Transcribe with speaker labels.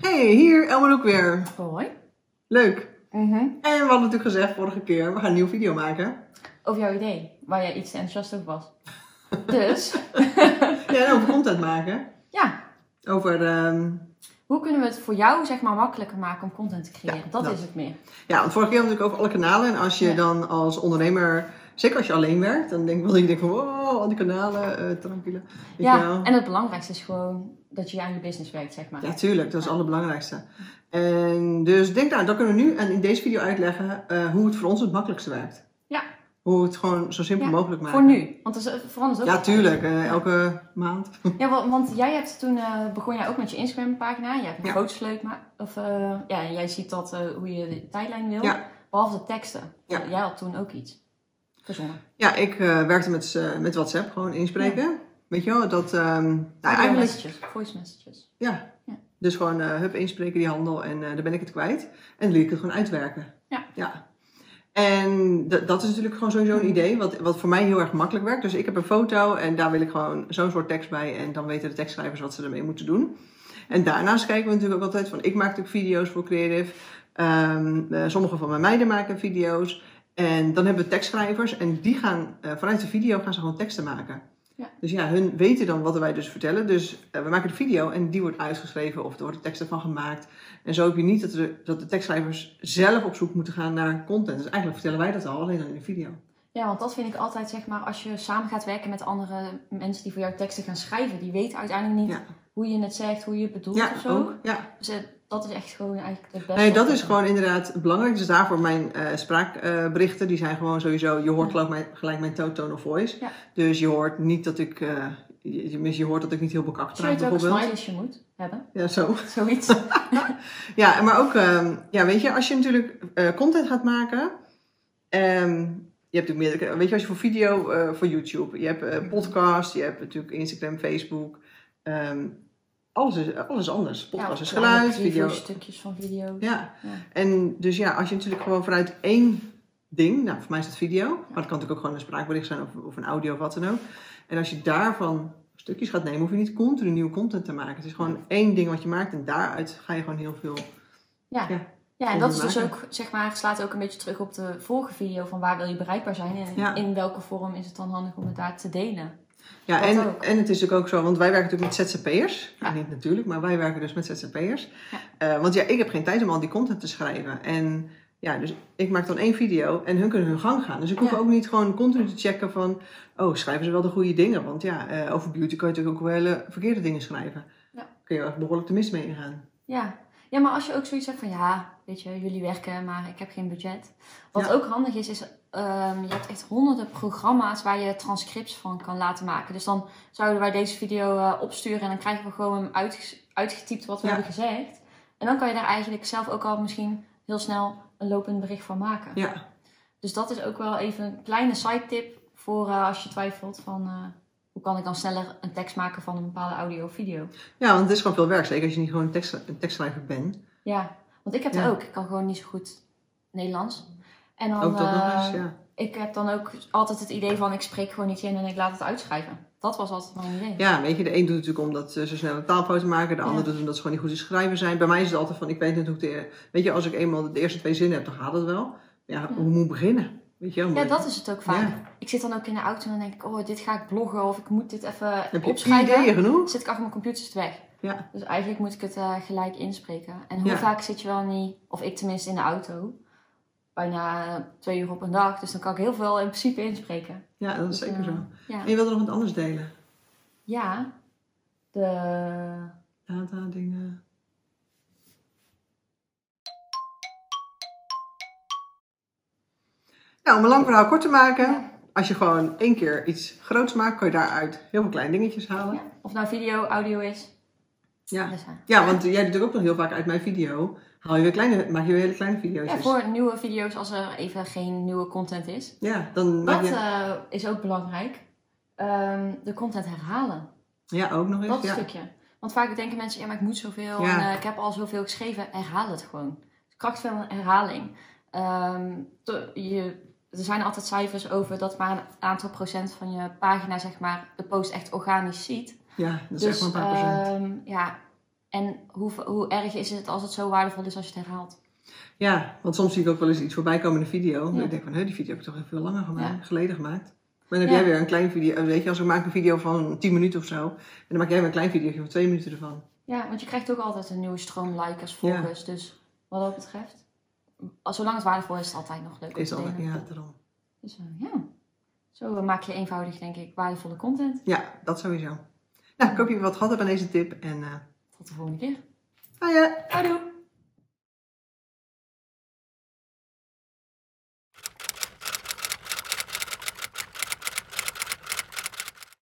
Speaker 1: Hey, hier Elman ook weer.
Speaker 2: Hoi.
Speaker 1: Leuk. En we hadden natuurlijk gezegd vorige keer, we gaan een nieuwe video maken.
Speaker 2: Over jouw idee, waar jij iets te enthousiast over was. dus,
Speaker 1: Ja, en over content maken.
Speaker 2: ja,
Speaker 1: Over, ehm,
Speaker 2: hoe kunnen we het voor jou zeg maar makkelijker maken om content te creëren?
Speaker 1: Ja,
Speaker 2: dat
Speaker 1: dat.
Speaker 2: is het meer.
Speaker 1: ja, want vorige keer hadden we natuurlijk over alle kanalen. En als je
Speaker 2: Ja.
Speaker 1: dan als ondernemer, zeker als je alleen werkt, dan denk wil je denken van, wow, al die kanalen, eh tranquille. Weet je wel.
Speaker 2: Ja, en het belangrijkste is gewoon dat je aan je business werkt, zeg maar.
Speaker 1: Ja, tuurlijk. Dat is het allerbelangrijkste. En dus ik denk, nou, dat kunnen we nu en in deze video uitleggen eh, hoe het voor ons het makkelijkste werkt.
Speaker 2: Ja.
Speaker 1: Hoe we het gewoon zo simpel
Speaker 2: Ja,
Speaker 1: mogelijk maken.
Speaker 2: Voor nu, want dat is- eh, verandert ook.
Speaker 1: Ja,
Speaker 2: altijd.
Speaker 1: tuurlijk. eh, elke maand.
Speaker 2: Ja, wa- want, jij hebt toen, eh, begon jij ook met je Instagram pagina. Jij hebt
Speaker 1: Ja.
Speaker 2: foto's leuk, maar, of eh, ja, jij ziet dat eh, hoe je de tijdlijn wil.
Speaker 1: Ja.
Speaker 2: Behalve de teksten.
Speaker 1: Ja.
Speaker 2: Jij had toen ook iets verzonnen.
Speaker 1: Ja, ik eh, werkte met, eh, met WhatsApp, gewoon inspreken. Weet je wel, dat... ehm, nou,
Speaker 2: Audio
Speaker 1: eigenlijk,
Speaker 2: messages, voice messages.
Speaker 1: ja.
Speaker 2: Ja.
Speaker 1: Dus gewoon, eh hup, inspreken die handel en eh dan ben ik het kwijt. En dan liet ik het gewoon uitwerken.
Speaker 2: Ja.
Speaker 1: ja. En d- dat is natuurlijk gewoon sowieso
Speaker 2: Mm.
Speaker 1: een idee, wat, wat voor mij heel erg makkelijk werkt. Dus ik heb een foto en daar wil ik gewoon zo'n soort tekst bij. En dan weten de tekstschrijvers wat ze ermee moeten doen. En daarnaast kijken we natuurlijk ook altijd van, ik maak natuurlijk video's voor Creative. Ehm, eh, sommige van mijn meiden maken video's. En dan hebben we tekstschrijvers en die gaan eh, vanuit de video gaan ze gewoon teksten maken.
Speaker 2: Ja.
Speaker 1: Dus ja, hun weten dan wat wij dus vertellen. Dus eh, we maken de video en die wordt uitgeschreven of er worden teksten van gemaakt. En zo heb je niet dat de, dat de tekstschrijvers zelf op zoek moeten gaan naar content. Dus eigenlijk vertellen wij dat al, alleen dan in de video.
Speaker 2: Ja, want dat vind ik altijd, zeg maar, als je samen gaat werken met andere mensen die voor jou teksten gaan schrijven, die weten uiteindelijk niet
Speaker 1: Ja.
Speaker 2: hoe je het zegt, hoe je het bedoelt
Speaker 1: Ja,
Speaker 2: of zo.
Speaker 1: ook. Ja.
Speaker 2: Dus eh, dat is echt gewoon eigenlijk het beste.
Speaker 1: Nee, dat
Speaker 2: oplossing.
Speaker 1: is gewoon inderdaad belangrijk. Dus daarvoor mijn spraakberichten, die zijn gewoon sowieso... Je hoort geloof ik mijn- gelijk mijn to- tone of voice.
Speaker 2: Ja. Dus
Speaker 1: Dus je hoort niet dat ik... eh, je, je- je hoort dat ik niet heel bekakt
Speaker 2: Zo weet
Speaker 1: praat
Speaker 2: je welke
Speaker 1: bijvoorbeeld.
Speaker 2: smileys je moet hebben.
Speaker 1: Ja, zo.
Speaker 2: Zoiets.
Speaker 1: Ja, maar ook... ehm, ja, weet je, als je natuurlijk eh, content gaat maken... ehm, je hebt natuurlijk meerdere... Weet je, als je voor video, eh, voor YouTube... Je hebt eh, podcast, je hebt natuurlijk Instagram, Facebook... ehm, alles, is, alles is anders. Podcast is geluid, video...
Speaker 2: stukjes van video's.
Speaker 1: Ja.
Speaker 2: Ja.
Speaker 1: En dus ja, als je natuurlijk gewoon vanuit één ding, nou voor mij is dat video, maar het kan natuurlijk ook gewoon een spraakbericht zijn of, of een audio of wat dan ook. En als je daarvan stukjes gaat nemen, hoef je niet continu nieuwe content te maken. Het is gewoon één ding wat je maakt en daaruit ga je gewoon heel veel.
Speaker 2: Ja.
Speaker 1: Ja.
Speaker 2: Ja, en
Speaker 1: Kon je
Speaker 2: dat is dus
Speaker 1: maken.
Speaker 2: ook, zeg maar, slaat ook een beetje terug op de vorige video van waar wil je bereikbaar zijn en
Speaker 1: Ja.
Speaker 2: in welke vorm is het dan handig om het daar te delen.
Speaker 1: Ja,
Speaker 2: Dat
Speaker 1: en,
Speaker 2: ook.
Speaker 1: en het is natuurlijk ook zo, want wij werken natuurlijk met ZZP'ers. Ja.
Speaker 2: Ja.
Speaker 1: niet natuurlijk, maar wij werken dus met ZZP'ers. Eh, want ja, ik heb geen tijd om al die content te schrijven. En ja, dus ik maak dan één video en hun kunnen hun gang gaan. Dus ik hoef
Speaker 2: Ja.
Speaker 1: ook niet gewoon continu te checken van... Oh, schrijven ze wel de goede dingen? Want ja, eh, over beauty kan je natuurlijk ook wel hele verkeerde dingen schrijven.
Speaker 2: Ja.
Speaker 1: Kun je wel echt behoorlijk de mist mee ingaan.
Speaker 2: Ja. ja, maar als je ook zoiets hebt van ja, weet je, jullie werken, maar ik heb geen budget. Wat
Speaker 1: Ja.
Speaker 2: ook handig is, is ehm, je hebt echt honderden programma's waar je transcripts van kan laten maken. Dus dan zouden wij deze video eh, opsturen en dan krijgen we gewoon uitge- uitgetypt wat we
Speaker 1: Ja.
Speaker 2: hebben gezegd. En dan kan je daar eigenlijk zelf ook al misschien heel snel een lopend bericht van maken.
Speaker 1: Ja,
Speaker 2: Dus dat is ook wel even een kleine side tip voor eh, als je twijfelt van eh, hoe kan ik dan sneller een tekst maken van een bepaalde audio of video.
Speaker 1: ja want het is gewoon veel werk. Zeker als je niet gewoon een, tekst, een tekstschrijver bent.
Speaker 2: Ja, want ik heb
Speaker 1: Ja.
Speaker 2: dat ook. Ik kan gewoon niet zo goed Nederlands. En dan,
Speaker 1: ook dat nog
Speaker 2: eh,
Speaker 1: eens, ja.
Speaker 2: ik heb dan ook altijd het idee van ik spreek gewoon niet in en ik laat het uitschrijven. Dat was altijd mijn idee.
Speaker 1: Ja, weet je, de een doet het natuurlijk omdat ze zo snel een taalfouten maken. De
Speaker 2: Ja.
Speaker 1: ander doet het omdat ze gewoon niet goed in schrijven zijn. Bij mij is het altijd van, ik weet niet hoe ik de... e- Weet je, als ik eenmaal de eerste twee zinnen heb, dan gaat het wel. Ja, hoe moet ik beginnen? Weet je wel?
Speaker 2: Ja,
Speaker 1: moet ik-
Speaker 2: dat is het ook vaak.
Speaker 1: Ja.
Speaker 2: Ik zit dan ook in de auto en dan denk ik, oh, dit ga ik bloggen of ik moet dit even
Speaker 1: Heb je
Speaker 2: opschrijven.
Speaker 1: ideeën
Speaker 2: Dan
Speaker 1: genoeg?
Speaker 2: zit ik achter mijn computer zit het weg.
Speaker 1: Ja.
Speaker 2: Dus eigenlijk moet ik het eh, gelijk inspreken. En hoe
Speaker 1: Ja.
Speaker 2: vaak zit je wel niet, of ik tenminste in de auto, bijna eh, twee uur op een dag. Dus dan kan ik heel veel in principe inspreken.
Speaker 1: Ja, dat is
Speaker 2: Dus,
Speaker 1: zeker
Speaker 2: eh,
Speaker 1: zo.
Speaker 2: Ja,
Speaker 1: En je wilde nog wat anders delen?
Speaker 2: ja. De...
Speaker 1: Data, dingen... Nou, om een lang verhaal kort te maken. Als je gewoon één keer iets groots maakt, kan je daaruit heel veel kleine dingetjes halen.
Speaker 2: Ja. Of nou video, audio is.
Speaker 1: Ja.
Speaker 2: Dus, eh,
Speaker 1: Ja, want jij doet ook nog heel vaak uit mijn video. Haal je weer kleine, maak je weer hele kleine video's.
Speaker 2: ja, voor nieuwe video's als er even geen nieuwe content is.
Speaker 1: Ja, dan maak
Speaker 2: Dat
Speaker 1: je...
Speaker 2: eh, is ook belangrijk. Ehm, de content herhalen.
Speaker 1: Ja, ook nog eens.
Speaker 2: Dat
Speaker 1: ja.
Speaker 2: stukje. Want vaak denken mensen, ja, maar ik moet zoveel.
Speaker 1: Ja.
Speaker 2: En, eh, ik heb al zoveel geschreven. Herhaal het gewoon. De kracht van herhaling. Ehm, te- je, er zijn altijd cijfers over dat maar een aantal procent van je pagina, zeg maar, de post echt organisch ziet.
Speaker 1: ja, dat is
Speaker 2: dus
Speaker 1: echt maar een paar procent.
Speaker 2: ehm, ja, En hoe, hoe erg is het als het zo waardevol is als je het herhaalt?
Speaker 1: Ja, want soms zie ik ook wel eens iets voorbij komen in een video. En
Speaker 2: Ja.
Speaker 1: ik denk van, hé, die video heb ik toch heel veel langer gemaakt,
Speaker 2: Ja.
Speaker 1: geleden gemaakt. Maar dan
Speaker 2: Ja.
Speaker 1: heb jij weer een klein video. eh, Weet je, als ik maak een video van 10 minuten of zo. En dan maak jij weer een klein video van 2 minuten ervan.
Speaker 2: Ja, want je krijgt ook altijd een nieuwe stroom likers, volgers. Dus wat dat betreft, als, zolang het waardevol is, is het altijd nog leuk. om
Speaker 1: Is
Speaker 2: te
Speaker 1: altijd,
Speaker 2: delen.
Speaker 1: ja, daarom.
Speaker 2: Dus eh, ja, zo eh, maak je eenvoudig, denk ik, waardevolle content.
Speaker 1: Ja, dat sowieso. Nou, ik hoop je wat gehad hebt aan deze tip. En eh ah
Speaker 2: Tot de volgende keer.
Speaker 1: hoi, hè.
Speaker 2: Houdoe!